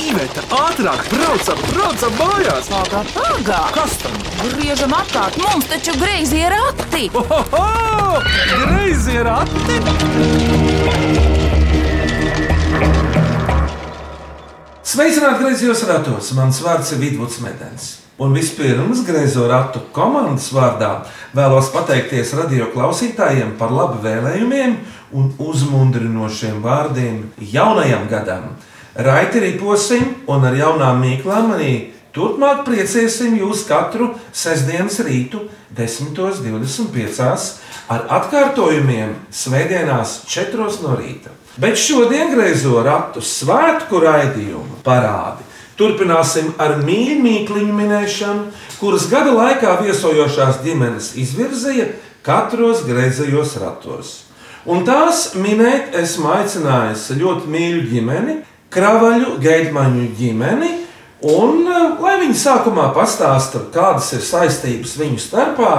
Iveta, ātrāk, braucam, braucam mājās! Pagā, pagā! Kas tam? Griežam apkārt, mums taču greizi ir akti! Ohoho! Greizi ir ati! Sveicināti griezos ratos! Mans vārds ir Vidvuds Medens. Un vispirms griezo ratu komandas vārdā vēlos pateikties radio klausītājiem par labu vēlējumiem un uzmundrinošiem vārdiem jaunajam gadam. Raiti riposim un ar jaunām mīklām arī turpmāk priecēsim jūs katru sestdienas rītu 10.25 ar atkārtojumiem svētdienās 4.00 no rīta. Bet šodien griezo ratu svētku raidījumu parādi. Turpināsim ar mīkniņu minēšanu, kuras gada laikā viesojošās ģimenes izvirzīja katros griezajos ratos. Un tās minēt esmu aicinājis ļoti mīļu ģimeni, Kravaļu Geidmaņu ģimeni, un eh, lai viņi sākumā pastāsta, kādas ir saistības viņu starpā,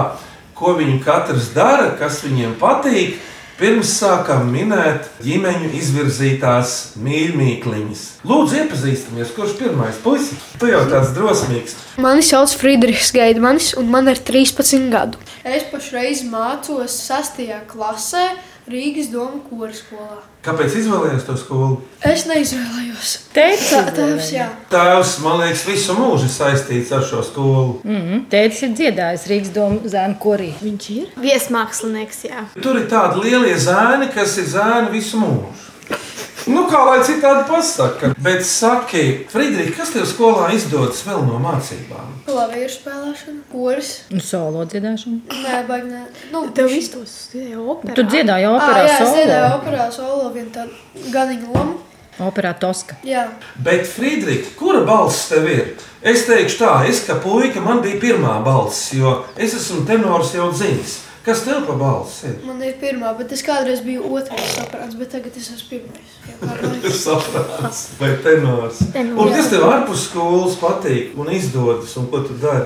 ko viņi katrs dara, kas viņiem patīk, pirms sākam minēt ģimeņu izvirzītās mīļmīkliņas. Lūdzu, iepazīstamies, kurš pirmais puisis. Tu jau tāds drosmīgs. Mani sauc Friedrichs Gaidmanis, un man ir 13 gadu. Es pašreiz mācos 6. klasē Rīgas domu korskolā. Kāpēc izvēlējies to skolu? Es neizvēlējos. Teica, Tēvs, jā. Tēvs, man liekas, visu mūžu ir saistīts ar šo skolu. teica ir dziedājis Rīgas domu zēnu korī. Viņš ir? Viesmākslinieks, jā. Tur ir tādi lielie zēni, kas ir zēni visu mūžu. Nu, kā lai citādi pasakā. Bet saki, Friedrich, kas tev skolā izdodas vēl no mācībām? Klavieru spēlēšana, kurs. Un solo dziedāšana. Nē, baigā. Nu, Tev iztos operā. Tu dziedāji Ā, operā jā, es dziedāju solo. operā solo vien tādu ganiņu lomu. Operā Toska. Jā, Bet, Friedrich, kura balss tev ir? Es teikšu, tā, es kā puika, man bija pirmā balss, jo es esmu tenors jau dzimis. Kas tev pa balss ir? man ir pirmā, bet es kādreiz biju otrais saprāts, bet tagad es esmu pirmais. Jā, Es pārmaiņas. saprotu, vai tenors. Tenors. Un kas tev ārpus skolas patīk un izdodas, un ko tu dari?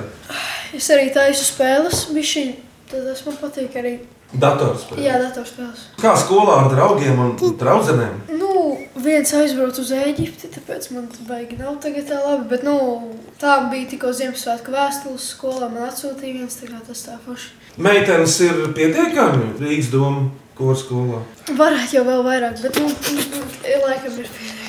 es arī taisu spēles, bišķiņ. Tad tas man patīk arī. Dators. protams. Jā, datorspēles. Kā skolā ar draugiem un draugiem? Nu, viens aizbrauca uz Eģipti, tāpēc man tā baigi nav tagad tā labi. Bet, nu, tā bija tikko Ziemassvētku vēstules skolā. Man atsūtīja viens, tā kā tas tā forši. Meitenes ir pietiekami Rīgas doma korskolā. Varētu jau vēl vairāk, bet, nu, laikam ir pietiekami.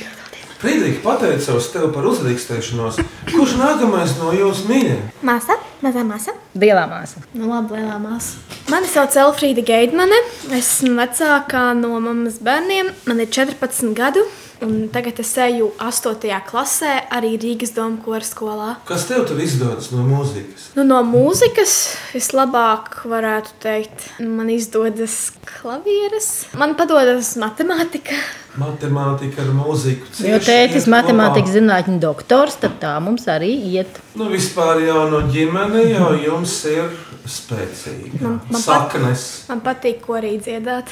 Friedrika pateicos tev par uzrakstēšanos. Kurš nākamais no jūsu mīļajiem? Māsa, mazā māsa. Lielā māsa. Nu, labi, lielā māsa. Mani sauc Elfrīda Geidmane. Es esmu vecākā no mammas bērniem. Man ir 14 gadu. Un tagad es eju 8. klasē, arī Rīgas domu kora skolā. Kas tev tur izdodas no mūzikas? Nu, no mūzikas vislabāk, varētu teikt, nu, man izdodas klavieres. Man padodas matemātika. Matemātika ar mūziku. Jo cieši tētis iet matemātikas kopā. zinātņu doktors, tad tā mums arī iet. Nu, vispār jau no ģimenes jau jums ir spēcīga Man- man pat- saknes. Man patīk, ko arī dziedāt.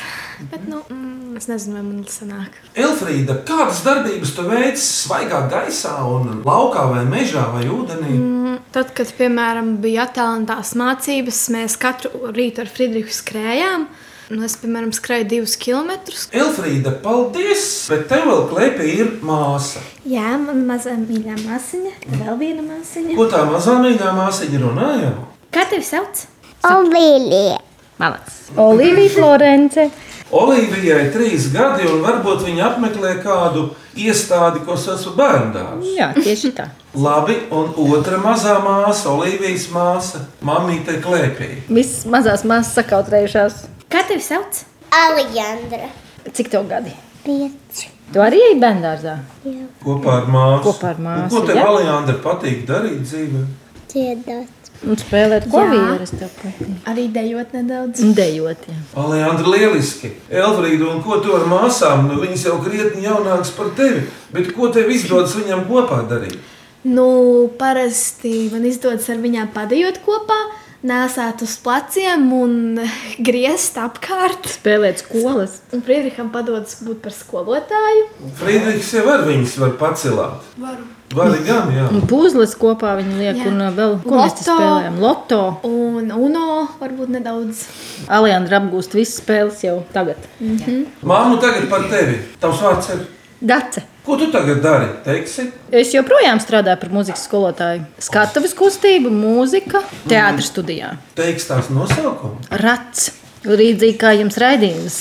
Bet, nu, mm, es nezinu, vai man tas sanāk. Elfrīda, kādas darbības tu veic svaigā gaisā un laukā vai mežā vai ūdenī? Tad, kad, piemēram, bija attālinātās mācības, mēs katru rītu ar Friedrihu skrējām. Nu, es, piemēram, skrēju divus kilometrus. Elfrīda, paldies! Bet tev vēl klēpī ir māsa. Jā, man mazā mīļā māsiņa, vēl viena māsiņa. Ko tā mazā mīļā māsiņa runāja? Kā tevi sauc? Malacis. Olivija Florence. Olivijai ir trīs gadi, un varbūt viņa apmeklē kādu iestādi, ko sauc par bērnu dārstu. Jā, tieši tā. Labi, un otra mazā māsa, Olivijas māsa, mamīte klēpī. Viss mazās māsas sakautrējušās. Kā tevi sauc? Alijandra. Cik tev gadi? Pieci. Tu arī ej bērngārzā. Kopā ar māsu. Kopā ar Un māsu, Ko tev, jā. Alijandra, patīk darīt dzīvē? Dziedāt. Un spēlēt klavierus tev patīk. Arī dejot nedaudz. Un dejot. Jā. Alijandra, lieliski. Elfrīda, un ko tu ar māsām? Nu, viņas jau krietni jaunākas par tevi, bet ko tev izdodas viņam kopā darīt? Nu, parasti man izdodas ar viņiem padejot kopā, nesāt uz pleciem un griezt apkārt. Spēlēt skolas. Un Friedriham padodas būt par skolotāju. Friedrichs jau var viņas var pacelāt. Varu. Vari gan, jā. Un puzles kopā viņi liek. Jā. Jā. Un uh, vēl ko mēs te Loto. spēlējam? Loto. Un UNO varbūt nedaudz. Alijandra apgūst visas spēles jau tagad. Māmu tagad par tevi. Tavs vārds ir Dace. Ko tu tagad dari? Teiksi, Es joprojām strādāju par mūzikas skolotāju. Skatuves kustība, mūzika, teātris studijā. teiks tās nosaukums. Rats. Līdzīgi kā jums raidījums.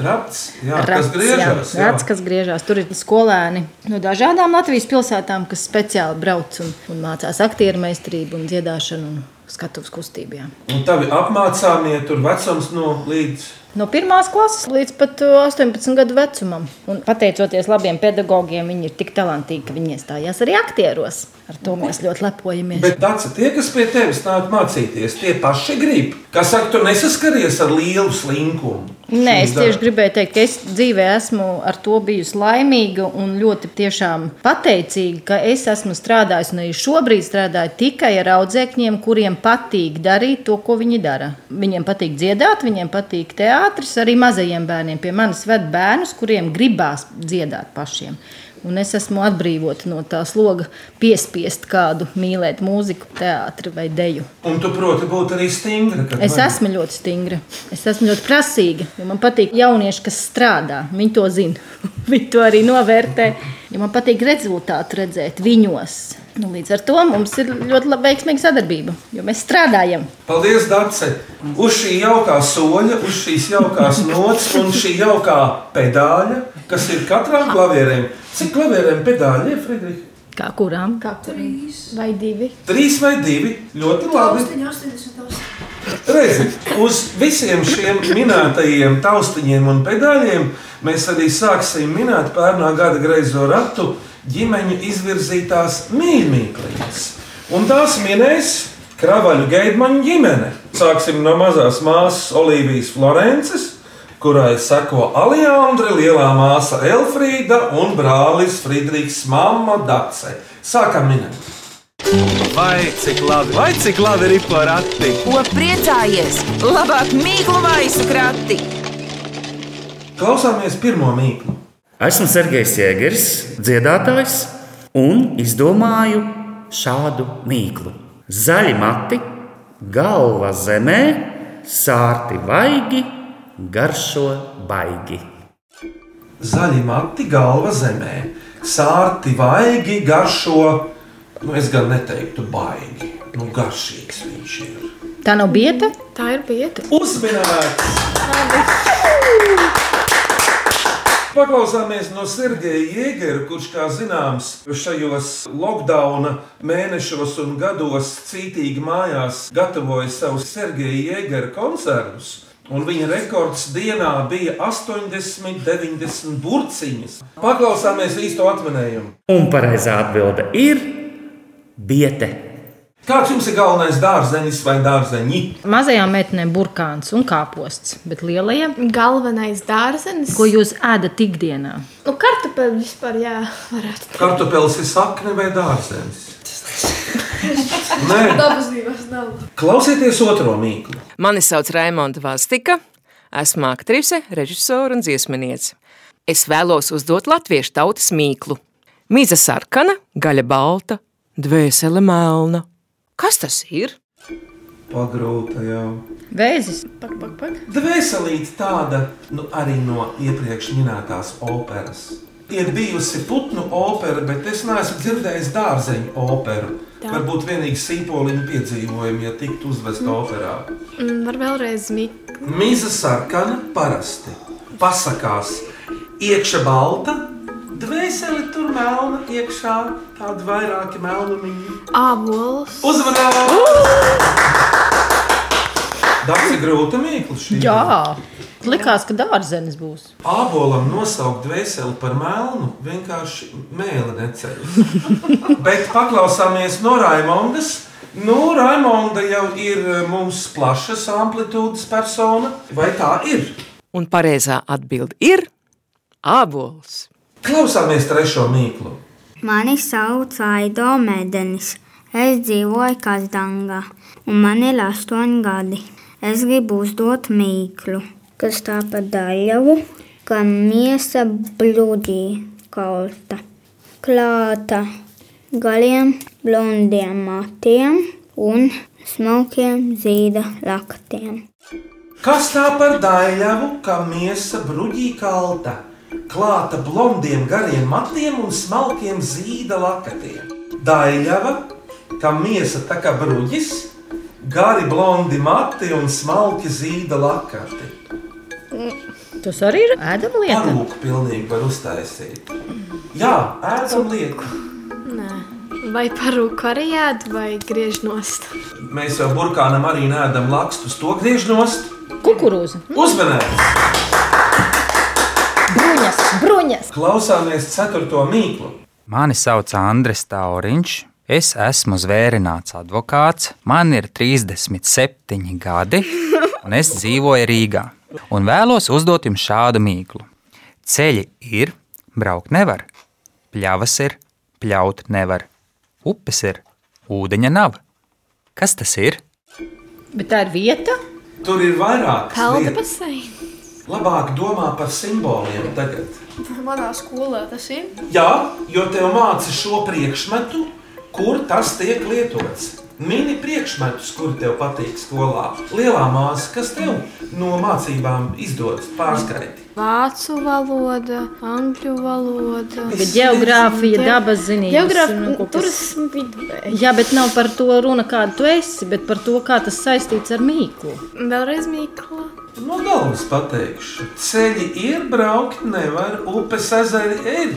Rats, jā, Rats, kas griežas. jā. Rats, kas griežās. Tur ir skolēni no dažādām Latvijas pilsētām, kas speciāli brauc un, un mācās aktieru meistarību un dziedāšanu un skatuves kustībām. Un tavi apmācāmie tur vecums no līdz. No pirmās klases līdz pat uh, 18 gadu vecumam. Un, pateicoties labiem pedagogiem, viņi ir tik talantīgi, ka viņi iestājās arī aktieros. Ar to mēs ļoti lepojamies. Bet tāds ir tie, kas pie tevis nāk mācīties, tie paši grib. Kas saka, tu nesaskaries ar lielu slinkumu? Nē, es Šīs tieši dar- gribēju teikt, ka es dzīvē esmu ar to bijusi laimīga un ļoti tiešām pateicīga, ka es esmu strādājusi un arī šobrīd strādāju tikai ar audzēkņiem, kuriem patīk darīt to, ko viņi dara. Viņiem patīk dziedāt, viņiem patīk teātris, arī mazajiem bērniem. Pie manis ved bērnus, kuriem gribās dziedāt pašiem. Un es esmu atbrīvota no tā sloga piespiest kādu mīlēt mūziku, teātri vai deju. Un tu proti būt arī stingra. kad Es vajag. esmu ļoti stingra. Es esmu ļoti prasīga. jo Man patīk jaunieši, kas strādā. Viņi to zina. Viņi to arī novērtē. Ja man patīk rezultātu redzēt viņos. Nu, līdz ar to mums ir ļoti laba, veiksmīga sadarbība, jo mēs strādājam. Paldies, Dārce! Uz šī jaukā soļa, uz šīs jaukās nots un šī jaukā pedāļa, kas ir katrā klavierēm. Cik klavierēm pedāļi ir, Friedrich? Kā kurām? Kā trīs vai divi? Trīs vai divi? Ļoti labi. 88. Redzi, uz visiem šiem minētajiem taustiņiem un pedāļiem mēs arī sāksim minēt pērnā gada greizo ratu ģimeņu izvirzītās mīmīklītes. Un tās minēs Kravaļu Geidmaņa ģimene. Sāksim no mazās māsas Olivijas Florences, kurai seko Alijandra, lielā māsa Elfrīda un brālis Friedrichs Mamma Dace. Sākam minēt! Vai cik labi, vai cik labi ir pa rati? Ko priecājies? Labāk mīklu maisu krati. Klausāmies pirmo mīklu! Esmu Sergejs Jēgers, dziedātājs, un izdomāju šādu mīklu. Zaļi mati, galva zemē, sārti vaigi, garšo baigi. Zaļi mati, galva zemē, sārti vaigi, garšo. Nu, es gan neteiktu, baigi. Nu, garšīgs viņš ir. Tā nav bieta. Tā ir bieta. Uzminēts! Paklausāmies no Sergeja Jēgera, kurš, kā zināms, šajos lockdown mēnešos un gados cītīgi mājās gatavoja savus Sergeja Jēgera koncertus. Un viņa rekords dienā bija 80, 90 burciņas. Paklausāmies īsto atminējumu. Un pareizā atbilde ir biete. Kāds jums ir galvenais dārzenis vai dārzeņi? Mazajām meitenēm burkāns un kāposts, bet lielajiem, Galvenais dārzenis. ko jūs ēdat ikdienā? Nu, kartupeļi vispār, jā, varētu. Kartupēlis ir sakne vai dārzenis? Nē, Dabas divas nav. klausieties otro mīklu. Mani sauc Raimonda Vastika, esmu aktrise, režisore un dziesminiece. Es vēlos uzdot latviešu tautas mīklu. Mīza sarkana, gaļa balta, dvēsele melna. Kas tas ir? Pagrūta jau. Vēzis. Pak, pak, pak. Dvēselīte tāda nu, arī no iepriekš minētās operas. Ir bijusi putnu opera, bet es neesmu dzirdējis dārzeņu operu. Tā. Varbūt vienīgi sīpoliņu piedzīvojumu, ja tiktu uzvest mm. operā. Un var vēlreiz mīt. Mīza sarkana parasti pasakās, iekšā balta, dvēseli tur melna, iekšā tāda vairāki melnumiņi. Ābols. Uzmanību! Tas ir grūti mīklu šī. Jā, likās, ka dārzenis būs. Ābolam nosaukt dvēseli par melnu vienkārši mēlē neceļ. Bet paklausāmies no Raimondas. Nu, Raimonda jau ir eh, mums plašas amplitūdas persona. Vai tā ir? Un pareizā atbilde ir ābols. Klausāmies trešo mīklu. Mani sauc Aido Mēdenis. Es dzīvoju Kazdangā, un man ir astoņi gadi. Es gribu uzdot mīklu, kas tā pa daļavu, kā miesa blūdī kalta. Klāta galiem, blondiem matiem un smalkiem zīda laktiem. Kas tā par daļavu, kā miesa bruģī kalta? klāta blondiem gariem matiem un smalkiem zīda lakatiem. Daļava, kam miesa tā kā bruģis, gari blondi mati un smalki zīda lakati. Tas arī ir ēdama lieta. Parūku pilnīgi var uztaisīt. Jā, ēdam lieku. Nē. Vai parūku arī ēd, vai griež nost? Mēs jau burkānam arī nēdam lakstus, to griež nost. Kukurūza. Uzmanības! Bruņas, bruņas. Klausāmies ceturto mīklu. Mani sauc Andris Tauriņš. Es esmu zvērināts advokāts. Man ir 37 gadi, un es dzīvoju Rīgā. Un vēlos uzdot jums šādu mīklu. Ceļi ir, braukt nevar, pļavas ir, pļaut nevar, upes ir, ūdeņa nav. Kas tas ir? Bet tā ir vieta. Tur ir vairāk. Pelda basēna. Labāk domā par simboliem tagad. Manā skolā tas ir. Jā, jo tev māca šo priekšmetu, kur tas tiek lietots. Mini priekšmetus, kuri tev patīk skolā. Lielā māsa, kas tev no mācībām izdodas pārskaiti. Vācu valoda, angļu valoda. Bet geogrāfija, dabas zinības. un Geogrāfija, kaut tur kas- es vidēji. Jā, bet nav par to runa, kāda tu esi, bet par to, kā tas saistīts ar mīklu. Mm, Vēlreiz Mīkla. No galvas pateikšu, ceļi ir braukt, nevar, upes ezeri ir,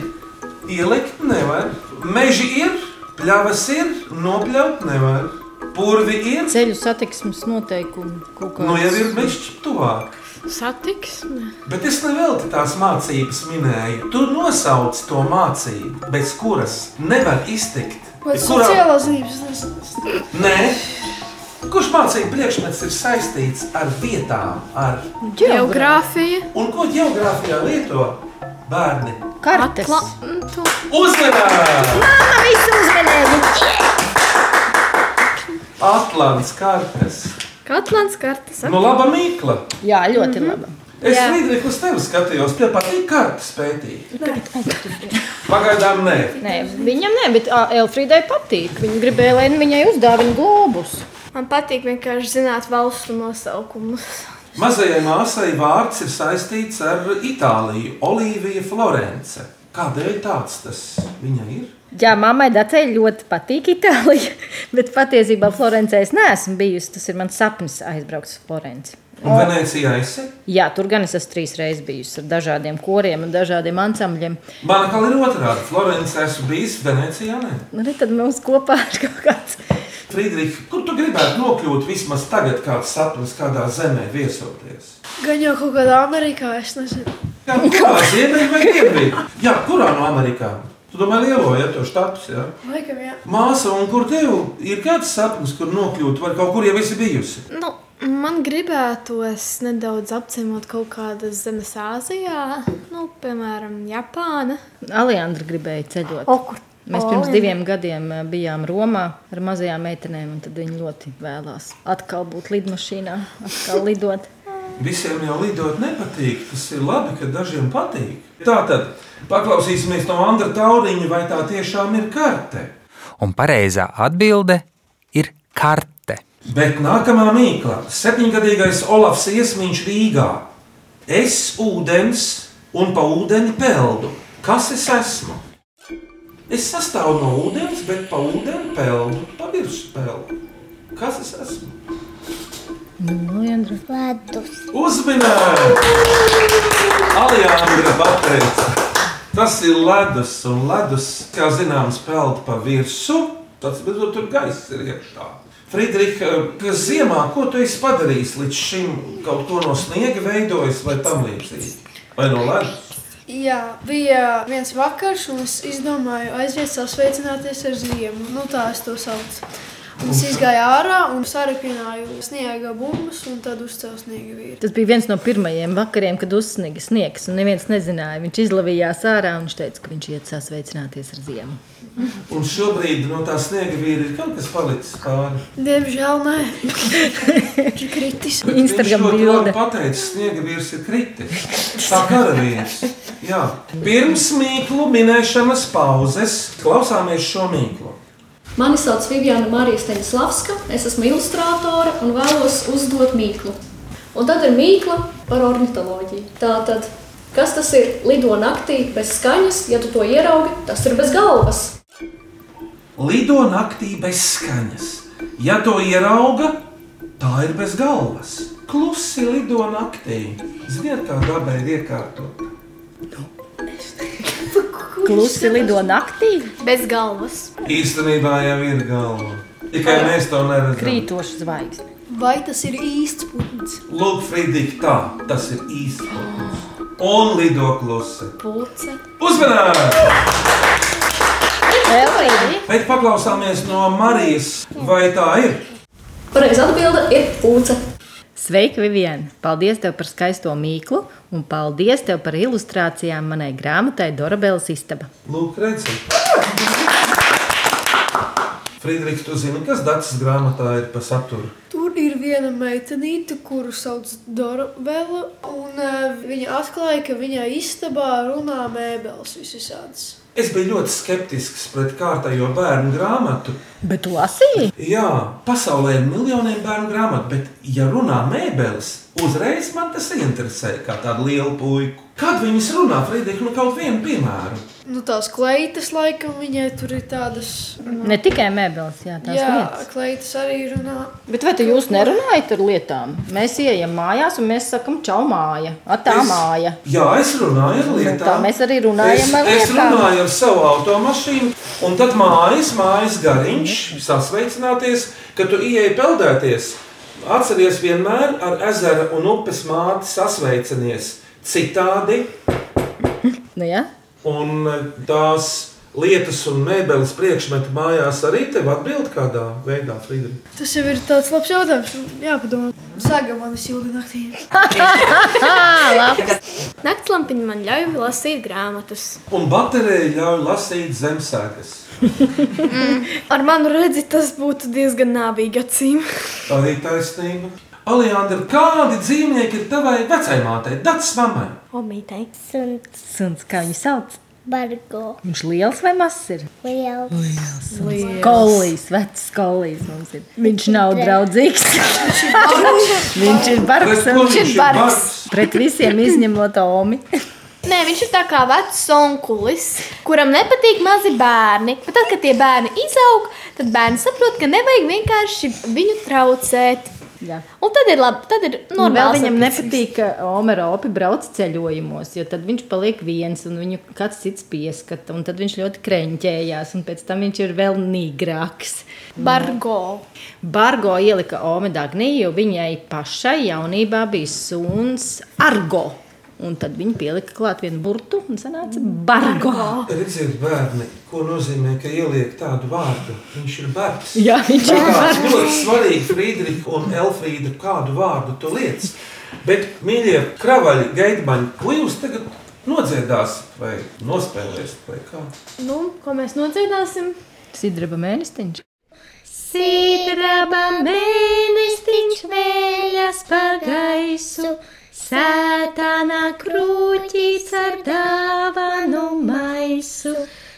ielikt nevar, meži ir, pļavas ir, nopļaut nevar, purvi ir, Ceļu satiksmes noteikumi kaut kādā no jau ir mešķi tuvāk. Satiksme. Bet es nevelti tās mācības minēju. Tu nosauc to mācību, bez kuras nevar iztikt. Vai Kurā- sociālā zinības nezinu. Nē, kurš mācību priekšmets ir saistīts ar vietām, ar Geogrāfija. un ko geogrāfijā lieto bērni? Kartes. Atla... Uzmanības! Mamma visu uzmanēja! Atlants kartes. Katlāns kartes. Nu, laba mīkla. Jā, ļoti Mhm. mm -hmm. labi. Es Jā. Līdzeku uz tevi skatījos, tev patīk kartes pētīt. Pagaidām nē. Nē, viņam nē, bet ā, Elfrīdai patīk. Viņa gribēja, lai viņai uzdāvina globus. Man patīk vienkārši zināt valstu nosaukumus. Mazajai māsai vārds ir saistīts ar Itāliju, Olivija Florence. Kādēļ tāds tas viņai ir? Jā, mammai Dacei ļoti patīk Itālija, bet patiesībā Florencē es neesmu bijusi. Tas ir mans sapnis aizbraukt uz Florenci. Un Venecijā esi? Jā, tur gan es esmu trīs reizes bijusi ar dažādiem koriem un dažādiem ansambļiem. Man kā ir otrādi. Florence esmu bijis Venecijā. Nē. Nu, re, tad mums kopā ir kaut kāds Friedrich, kur tu gribētu nokļūt vismaz tagad, kāds sapnis kādā zemē viesoties? Gan jau kaut kādā Amerikā, es nezinu. Jā, nu, kurā ziemeļā vai dienvidā? Jā, kurā no Amerikām? Tu domā, lielo, ja to štāps, jā? Laikam, jā. Māsa, un kur tev ir kāds sapnis, kur nokļūt, vai kaut kur jau esi bijusi? Nu, man gribētos nedaudz apciemot kaut kādas zemes Āzijā, nu, piemēram, Japāna. Aliandra gribēja ceļot. O, kur- Mēs pirms Aleandra. diviem gadiem eh, bijām Romā ar mazajām meitenēm, un tad viņi ļoti vēlās atkal būt lidmašīnā, atkal lidot. Visiem jau lidot nepatīk. Tas ir labi, ka dažiem patīk. Tā tad paklausīsimies no Andra Tauriņa, vai tā tiešām ir karte. Un pareizā atbilde ir karte. Bet nākamā mīkla - septiņgadīgais Olafs Iesmiņš Rīgā. Es ūdens un pa ūdeni peldu. Kas es esmu? Es sastāvu no ūdens, bet pa ūdeni peldu, pa virsmu peldu. Kas es esmu? Aliandra. Ledus. Uzmanīgi! Alijāna pateica, tas ir ledus, un ledus, kā zināms, peld pa virsmu. Tas bet nu, tur- tur gaiss ir iekšā. Friedrika, kas ziemā, ko tu esi padarījis līdz šim? Kaut ko no sniega veidojis vai tam līdzīgi? Vai no ledus? Jā, bija viens vakars, un es izdomāju aiziet sasveicināties ar ziemu. Nu, tā es to saucu. Un es izgāju ārā un saripināju sniega bumbas, un tad uzcēlu sniega vīru. Tas bija viens no pirmajiem vakariem, kad uzsniga sniegs, un neviens nezināja. Viņš izlavījās ārā un viņš teica, ka viņš iet sasveicināties ar ziemu. Un šobrīd no tā sniega vīra ir kaut kas palicis pāri. Diemžēl nē, viņš ir kritis. Bet viņš ļoti labi pateica, sniega vīrs ir kritis. Tā karavīrs. Jā. Pirms mīklu minēšanas pauzes klausāmies šo mīklu. Mani sauc Viviana Marija Steņdārzlavska, es esmu ilustrātore un vēlos uzdot mīklu. Un tad ir mīkla par ornitoloģiju. Tā tad Kas tas ir? Lido naktī bez skaņas, ja tu to ieraugi, tas ir bez galvas. Lido naktī bez skaņas. Ja to ierauga, tā ir bez galvas. Klusi lido naktī. Ziniet, kā dabai ir iekārtota. Klusi lido naktī. Bez galvas. Īstenībā jau ir galva. Tikai mēs to neredzam. Krītoša zvaigzne. Vai tas ir īsts putns? Lūk, Fridik, tā tas ir īstenībā. Un lido klusi. Pulce. Uzmanīgi! Elīdi. Bet paklausāmies no Marijas, vai tā ir? Pareizā atbilde ir pūce. Sveika, Vivian! Paldies tev par skaisto mīklu un paldies tev par ilustrācijām manai grāmatai Dorabēlas istaba. Lūk, redziet. Friedrichs, tu zini, kas Dācis grāmatā ir par saturu? Tur ir viena meitenīte, kuru sauc Dora Bela, un eh, viņa atklāja, ka viņai istabā runā mēbeles visādas. Es biju ļoti skeptisks pret kārtējo bērnu grāmatu. Bet tu lasīji? Jā, pasaulē ir miljoniem bērnu grāmatu, bet, ja runā mēbeles, uzreiz man tas interesē, kā tādu lielu puiku. Kad viņas runā, Friedrich, nu kaut vienu piemēru. Nu, tās kleitas, laikam, viņai tur ir tādas. Ne tikai mēbeles, jā, tās jā. Jā, lietas. kleitas arī runā. Bet vai tu jūs nerunājat ar lietām? Mēs ejam mājās un mēs sakam, čau māja, atā Es- māja. Jā, es runāju ar Nu, lietām. Tā mēs arī runājam ar es, es lietām. runāju ar savu automašīnu, un tad mājas, mājas gariņš, Mhm. sasveicināties, kad tu ieeji peldēties. Atceries vienmēr ar ezera un upes māti sasveicinies citādi, Nu, ja? un tās lietas un mēbeles priekšmeti mājās arī tev atbild kādā veidā, Frīdri. Tas jau ir tāds labs jautājums. Nu, Jā, padomā. Saga manis ilgi naktī. Naktslampiņa man ļauj lasīt grāmatas. Un baterija ļauj lasīt zemsēkas. Ar manu redzi, tas būtu diezgan nāvīgi acīm. Arī taisnība. Alijandra, kādi dzīvnieki ir tavai vecai mātei, Dats mammai? Omītei. Suns Suns, kā viņu sauc? bargo Viņš liels vai mazs ir? liels. Liels. suns. Kolīs, vecs kolīs mums ir. Viņš nav Tre- draudzīgs. Viņš ir Pret bargs. ko viņš ir bargs? Pret visiem izņemot Omi. Nē, viņš ir tā kā vecs onkulis, kuram nepatīk mazi bērni. Bet tad, kad tie bērni izaug, tad bērni saprot, ka nevajag vienkārši viņu traucēt. Jā. Un tad ir labi, tad ir Nu, Un vēl normāli. viņam saprast. nepatīk, ka Omaņa opi brauc ceļojumos, jo tad viņš paliek viens un viņu kāds cits pieskata. Un tad viņš ļoti krenķējās, un pēc tam viņš ir vēl nīgrāks. Mm. Bargo. Bargo ielika Omaņa Agnī, jo viņai pašai jaunībā bija suns Argo. Un tad viņi pielika klāt vienu burtu un sanāca Bargo. Redziet, bērni, ko nozīmē, ka ieliek tādu vārdu. Viņš ir bērns. Jā, viņš ir Tas bargs. ļoti svarīgi, Friedrika un Elfrīda, kādu vārdu tu liec. Bet, mīļie, kravaļi, gaidmaņi, ko jūs tagad nodziedāsiet vai nospēlēsiet? Vai kā? Nu, ko mēs nodziedāsim? Sidraba mēnestiņš. Sidrabam mēnestiņš vējas par gaisu, sētana krūtīs ar dāvanu maisu.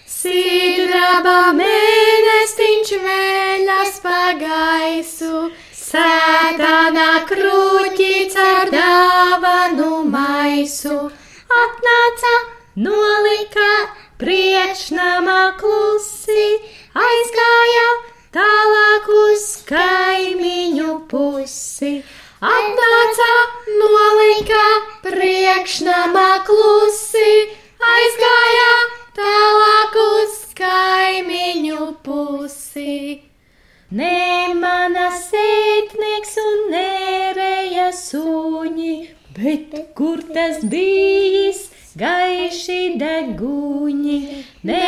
Sidrabam mēnestiņš vējas par gaisu, sētana krūtīs ar dāvanu nu maisu. Atnāca, nolika priekšnamā klusi, aizgāja tālāk uz kaimiņu pusi. Atnāca, nolika priekšnamā klusi, aizgāja tālāk uz kaimiņu pusi. Nē, mana sētnieks un nērēja suņi, bet kur tas bijis? Gaiši deguņi, nē,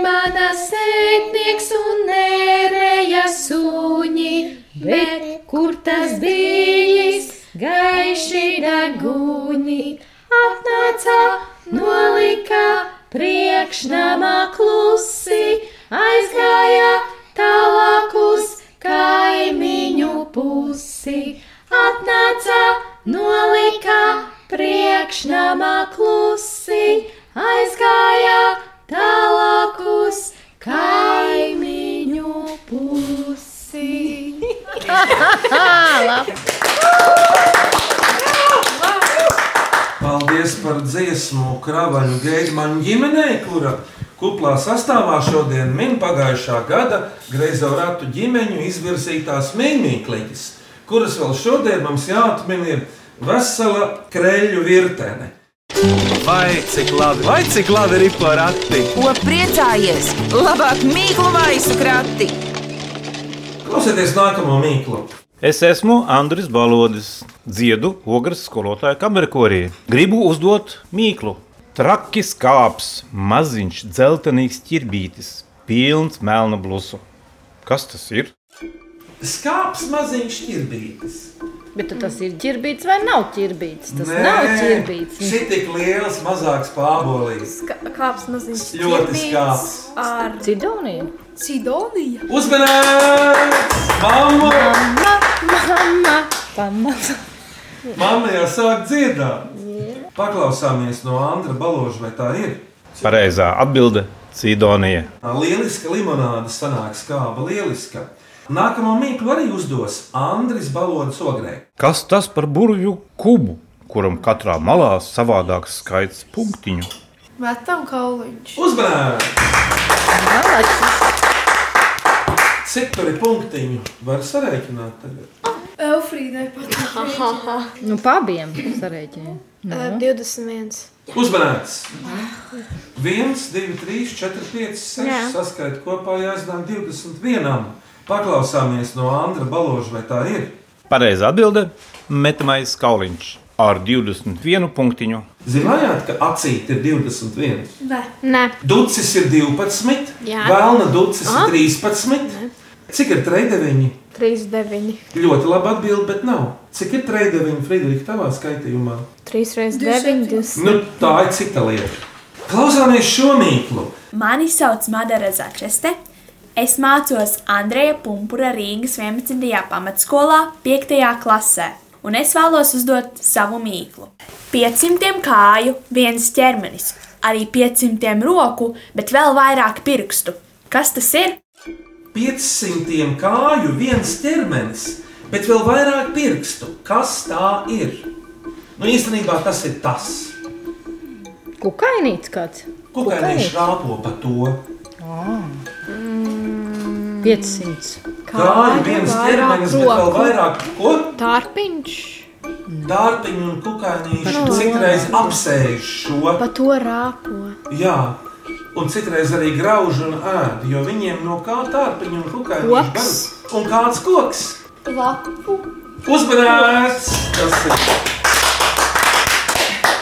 mana sētnieks un nērēja suņi, bet kur tas bijis? Gaiši deguņi, atnāca, nolika priekšnamā klusi, aizgāja tālāk uz kaimiņu pusi. Atnāca, nolika priekšnamā klusi, aizgāja tālāk uz kaimiņu pusi. Paldies par par dziesmu Kravaļu Geidmanu ģimenei, kura kuplā sastāvā šodien min pagājušā gada Greizorātu ģimeņu izvirzītās mīmīkliņas, kuras vēl šodien mums jāatmin ir vesela kreļu virtene. Vai cik labi, vai cik labi ir porakti? Ko priecājies? Labāk mīklu maisu krati! Klausieties nākamo mīklu! Es esmu Andris Balodis, dziedu ogres skolotāja kamerkorī. Gribu uzdot mīklu. Traki skāps, maziņš, dzeltenīgs ķirbītis, pilns melna blusu. Kas tas ir? Skāps maziņš ķirbītis. Bet tad tas ir ķirbīts vai nav ķirbīts? Tas Nē, Nē. nav ķirbīts. Šī tik liels, mazāks pārbolīgs. Kāpēc maziņš Ļoti skāps. ar Cidoniju? Sidoniju. Uzmanīgs! Mamma! Mamma! Mamma! Mamma jau sāk dziedāt! Paklausāmies no Andra Baloža, vai tā ir? Pareizā atbilde - Cidonija. Tā Lieliska limonāde sanāk skāba, lieliska. Nākamo mīklu arī uzdos Andris Balodas ogrē. Kas tas par burvju kubu, kuram katrā malā savādāks skaits punktiņu? Metam kauliņš. Uzmanīgi! Cik tur ir punktiņu? Var sarēķināt tagad. Elfrīdai patīk. Nu, pabiem sarēķinu. Nu. eh, 21. Uzmanīgs! 1, 2, 3, 4, 5, 6. Jā. Saskaitīt kopā jāiznāk 21. Paklausāmies no Andra Baloža, vai tā ir? Pareizā atbilde - metamais kauliņš ar 21 punktiņu. Zinājāt, ka acīm ir 21? Nē. Nē. Ducis ir 12, Jā. Vēlna ducis Ah. ir 13. Cik ir 39? 39. Ļoti labi atbild, bet nav. Cik ir 39 Friderika tavā skaitījumā? 3 reizes 9. 20. Nu, tā ir cita lieta. Klausāmies šo mīklu. Mani sauc Madara Začeste. Es mācos Andreja Punkūra Rīgas 11. pamatskolā, 5. klasē, un es vēlos uzdot savu mīklu. 500 kāju, viens ķermenis, arī 500 roku, bet vēl vairāk pirkstu. Kas tas ir? 500 kāju, viens ķermenis, bet vēl vairāk pirkstu. Kas tā ir? Nu, īstenībā tas ir tas, Kukainīts kāds? ko kaimiņš Kukainīts. rāpo par to. Ā. 500. Kāju, viens ķermenis, bet vēl vairāk ko? Tārpiņš. Dārtiņa un kukainīši Par to citreiz apsēž šo. Pa to rāpo. Jā. Un citreiz arī grauž un ēd, jo viņiem no kā tārpiņa un kukaiņa Koks. un kāds koks. Lapu. Uzmanīgs! Tas ir.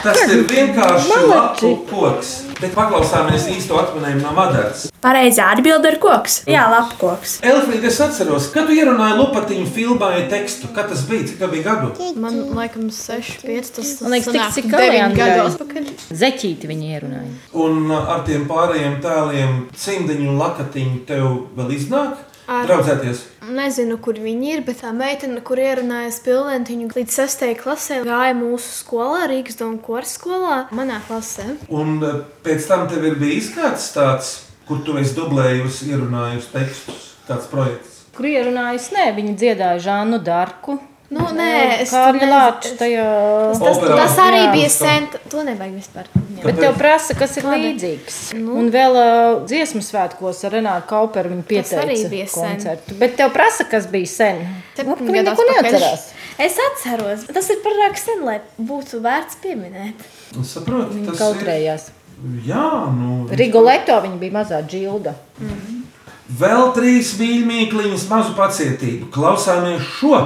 Tas ir vienkārši lapu koks. Bet paklausāmies īsto atminējumu no Madaras. Pareizā atbilde ir koks. Jā, lapkoks. Elfrīda, es atceros, kad tu ierunāji lupatiņu filmā ja tekstu, kad tas bija, cik tev bija gadu? Man laikam 6, 5. Tas Man liekas, tik sanāk cik deviņi gadi kalendāri. atpakaļ. Zeķīti viņi ierunāja. Un uh, ar tiem pārējiem tēliem, cimdiņu un lakatiņu tev vēl iznāk? Ar- Draudzēties! Nezinu, kur viņi ir, bet tā meitene, kur ierunājas pilnvērtīgu līdz 6. klasē, gāja mūsu skolā, Rīgas domu korpus skolā, manā klasē. Un eh, pēc tam tev ir bijis kāds tāds, kur tu esi dublējusi, ierunājusi tekstus, kāds projekts. Kur ierunājis? Nē, viņi dziedāja Žānu Darku. Nu, nē, es tur Kārļa nezinu. Lāča tajā. Tas, tas, Operā. tas arī Jā. bija sen. To nevajag vispār. Bet tev prasa, kas ir līdzīgs. Nu. Un vēl uh, dziesmu svētkos ar Renāru Kauperu viņa Tas arī pieteica bija sen. koncertu. Bet tev prasa, kas bija sen. Nu, Septiņi Viņi gadi neko atpakaļ. neatcerās. Es atceros, bet tas ir pārāk sen, lai būtu vērts pieminēt. Un saproti, tas Kautrējās. ir. Jā, nu. Rigoletto viņa bija mazā džilda. Vēl trīs mīļumīkliņas, mazu pacietību. Klausāmies šo.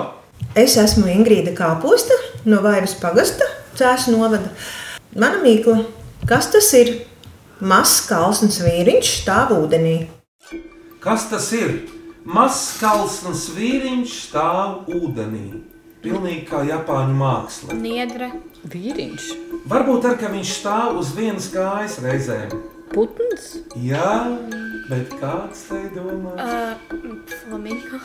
Es esmu Ingrīda Kāposta no Vaivas pagasta, Cēlā novada. Mana mīkla, kas tas ir? Mazs kalns vīriņš stāv ūdenī. Kas tas ir? Mazs kalns vīriņš stāv ūdenī. Pilnīgi kā Japāņu māksla. Niedra. Vīriņš. Varbūt ar ka viņš stāv uz vienas kājas reizēm. Putns. Jā, bet kāds te domā? Flamingo.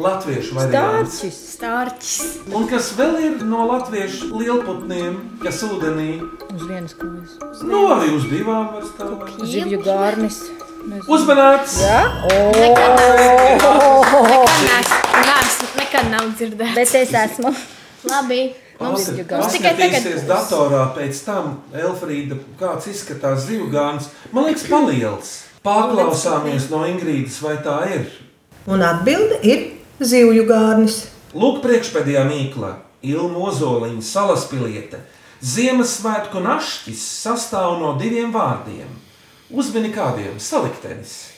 Latviešu variants. Stārķis. Un kas vēl ir no latviešu lielputniem, kas ūdenī Uz vienas puses. nu, arī uz divām var stāvēt? Zivju gārnis. Uzmanīgs! Jā, Oh! Nekad o! neesmu- Nekad nav dzirdējis. Bet es esmu. Labi. Mums, Ātri mums tikai tagad paskatīsies būs. datorā pēc tam, Elfrīda, kāds izskatās zivgāns. Man liekas, paliels. Pārklausāmies no Ingrīdas, vai tā ir. Un atbilde ir zivju gārnis. Lūk, priekšpēdējā mīkla, Ilma Ozoliņa, salaspiliete. Ziemassvētku našķis sastāv no diviem vārdiem. Uzmini kādiem saliktenis.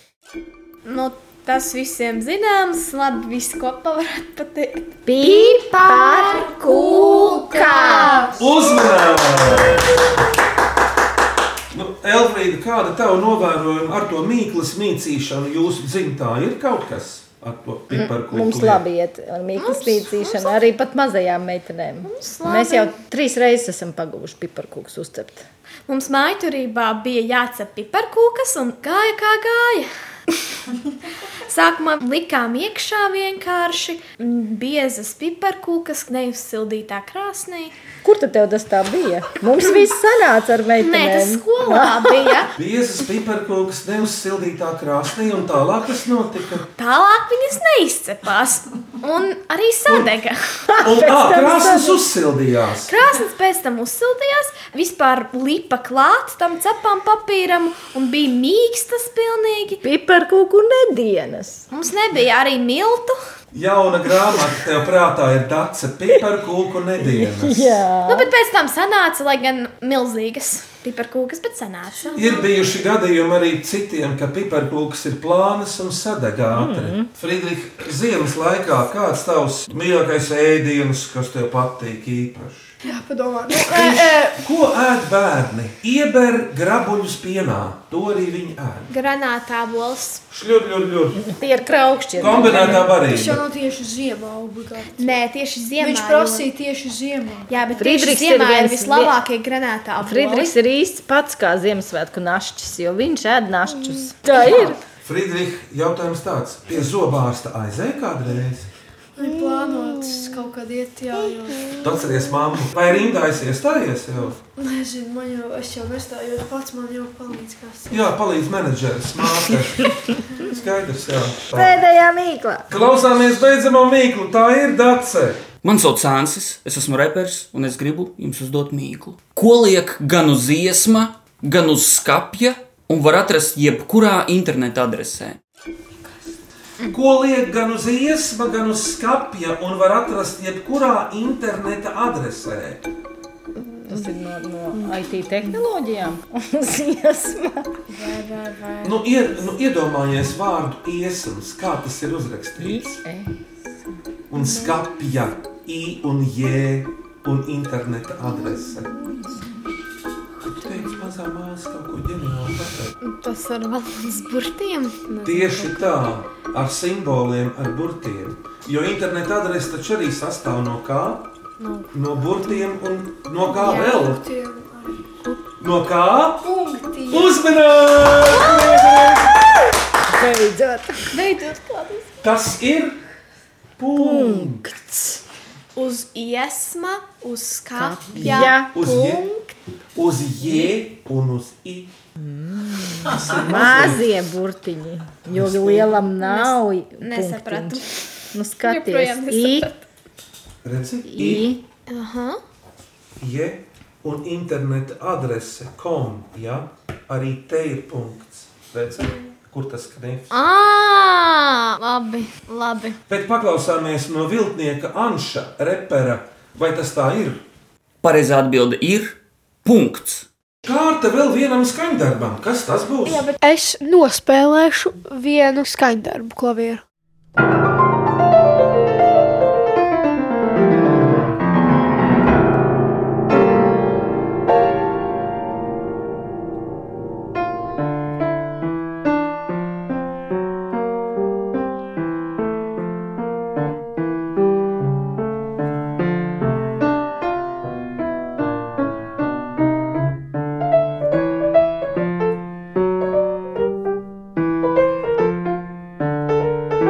Nu, tas visiem zināms, labi, viss kopā varētu pateikt. Pipar kūkā! Uzmanības! Nu, Elfrīda, kāda tava novērojuma ar to mīklas mīcīšanu jūsu dzimtā ir kaut kas ar to piparku? Mm, Mums labi iet ar mīklas līdzīšanu, arī pat mazajām meitenēm. labi. Mēs jau trīs reizes esam paguvuši piparkūkus uzcept. Mums mājturībā bija jācep piparkūkas un gāja kā gāja. Sākumā likām iekšā vienkārši mm, biezas piparkūkas, neuzsildītā krāsnī. Kur tad tev tas tā bija? Mums viss sanāca ar meitenēm. Nē, tas skolā bija. Biezas piparkūkas neuzsildītā krāsnī un tālāk tas notika. Tālāk viņas neizcepās un arī sadega. Un tā krāsas uzsildījās. Krāsnes pēc tam uzsildījās, vispār lipa klāt tam cepam papīram un bija mīkstas pilnīgi. Piparkūku nedienas. Mums nebija arī miltu. Jauna grāmata tev prātā ir dace piparkūku nedēļas. Nu, bet pēc tam sanāca, lai gan milzīgas piparkūkas, bet sanāca. Ir bijuši gadījumi arī citiem, ka piparkūks ir plānas un sadeg ātri. Mm. Friedrich, ziemas laikā kāds tavs mīļākais ēdiens, kas tev patīk īpaši? Jā, padomā. Ko ēd bērni? Ieber grabuļus pienā. To arī viņi ēd. Granātā bols. Šļūd, šļūd, šļūd. Tie ir kraukšķi. Kombinētā Tas jau varība. nav tieši ziemā obligāti. Nē, tieši ziemā. Viņš prasīja tieši ziemā. Jā, bet Friedrichs Friedrichs ir ziemā ir viens- vislabākie granātā bols. Friedrichs ir īsts pats kā Ziemassvētku našķis, jo viņš ēd našķus. Tā ir. Friedrich, jautājums tāds. Pie zobārsta aizēja kādreiz? Viņa plānotas kaut kad iet, jā, jo. Atceries, mamma, vai rindā esi iestājies jau? Nezinu, man jau, es jau nestājos pats, man jau palīdz kāds. Jā, palīdz menedžeris, māte. Skaidrs, jā. Tā. Pēdējā mīkla. Klausāmies beidzamo mīklu, tā ir dace. Mani sauc Ansis, es esmu reperis un es gribu jums uzdot mīklu. Ko liek gan uz iesma, gan uz skapja un var atrast jebkurā interneta adresē? Ko liek gan uz iesma, gan uz skapja un var atrast jebkurā interneta adresē. Tas ir no, no IT tehnoloģijām. Ziesma. Vai, vai, vai. Nu, ie, nu, iedomājies vārdu iesmas, kā tas ir uzrakstīts. Un skapja, i un j, un interneta adrese. Teiks mazā māsa kaut ko ģenerāli pateikt. Tas ar valodas burtiem. Tieši tā, ar simboliem, ar burtiem. Jo interneta adrese taču arī sastāv no kā? No- No burtiem un no kā Jā, vēl? tiem No kā? Punktiem. Uzmanības! Beidzot. Beidzot, kādas. Tas ir punkts. Uz iesma, uz skapja. Jā, uz J, uz J un uz I. Tas ir Mazie burtiņi. Jo lielam nav. Nes- nesapratu. punktiņš. Nu, Joprojām skaties, I, nesapratu. Redzi, I, I, Aha. J un interneta adrese kom, ja? Arī te ir punkts. Redzi, kur tas skanēs. Ah, labi, labi. Bet paklausāmies no viltnieka Anša, repera, vai tas tā ir? Pareizā atbilde ir punkts. Kārta vēl vienam skaņdarbam. Kas tas būs? Jā, bet es nospēlēšu vienu skaņdarbu klavieru. Thank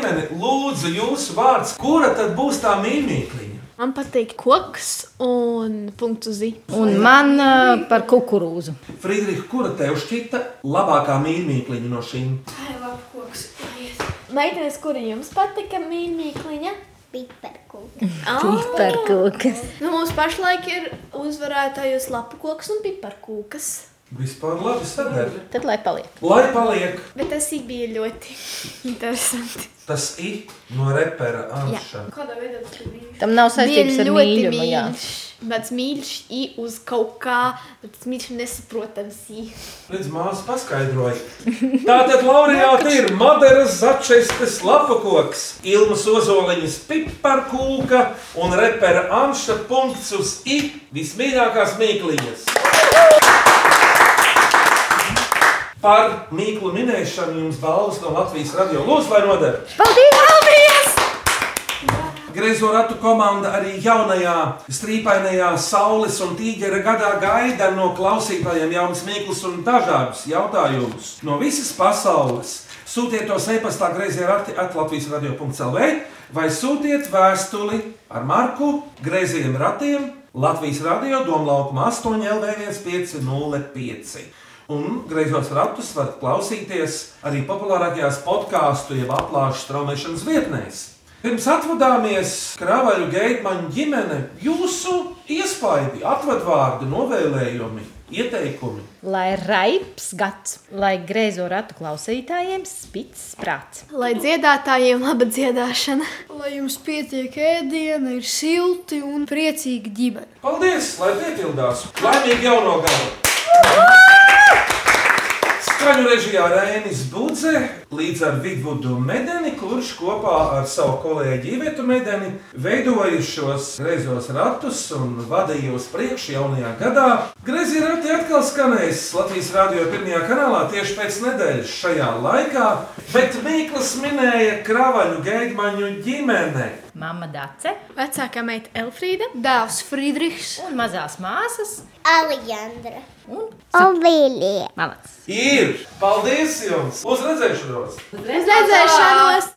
būs vārds, kura tad būs tā mīmīkliņa? Man patīk koks un punktu zi. Un man uh, par kukurūzu. Friedrich, kura tev šķita labākā mīmīkliņa no šīm? Ai, labi, koks. Meitenes, kuri jums patika mīmīkliņa? Piperkūka. Piperkūkas. Nu, mums pašlaik ir uzvarētājos lapu koks un piparkūkas. Vispār labi sadarbi. Tad lai paliek. Lai paliek Bet tas ik bija ļoti interesanti. tas i no repera Anša. Kādā veidā tas bija? Tam nav saistības Bija ar ļoti mīļumu, jā. mīļš. Bet mīļš i uz kaut kā, bet tas mīļš nesaprotams i. Līdz māsas paskaidroja. Tātad laureāti ir Maderas začestes lapakoks, Ilmas ozoliņas piparkūka un repera Anša punkts uz i vismīļākās mīkliņas. Par mīklu minēšanu jums balvas no Latvijas radio lūdzu, lai noder. Paldies! Paldies! Griezo ratu komanda arī jaunajā, strīpainajā saules un tīģera gadā gaida no klausītājiem jaunas mīklas un dažādus jautājumus no visas pasaules. Sūtiet tos e-pastā griezie rati atlatvijas radio.clv vai sūtiet vēstuli ar marku grieziem ratiem Latvijas radio domlaukuma 8 LV1505. Un griezos ratus var klausīties arī populārākajās podkāstu jeb aplāšu straumēšanas vietnēs. Pirms atvadāmies Kravaļu Geitmaņa ģimene, jūsu iespaidi, atvadvārdi, novēlējumi, ieteikumi. Lai ir raips gads, lai griezo ratu klausītājiem spīdz prāts. Lai dziedātājiem laba dziedāšana. Lai jums pietiek ēdiena, ir silti un priecīgi ģimene. Paldies, lai piepildās! Laimīgi jauno gadu! Skaņu režijā Rēnis Budze līdz ar Vigvudu Medeni, kurš kopā ar savu kolēģi Ivetu Medeni veidojušos greizos ratus un vadījos priekš jaunajā gadā. Greizie rati atkal skanēs Latvijas radio pirmajā kanālā tieši pēc nedēļas šajā laikā, bet Mīklas minēja Kravaļu Geidmaņu ģimene. Mama Dace Vecākā meita Elfrīda. Dēls Friedrichs. un mazās māsas. Alijandra. Un? Ovilija. Malacis. Ir! Paldies jums! Uz redzēšanos! Uz redzēšanos!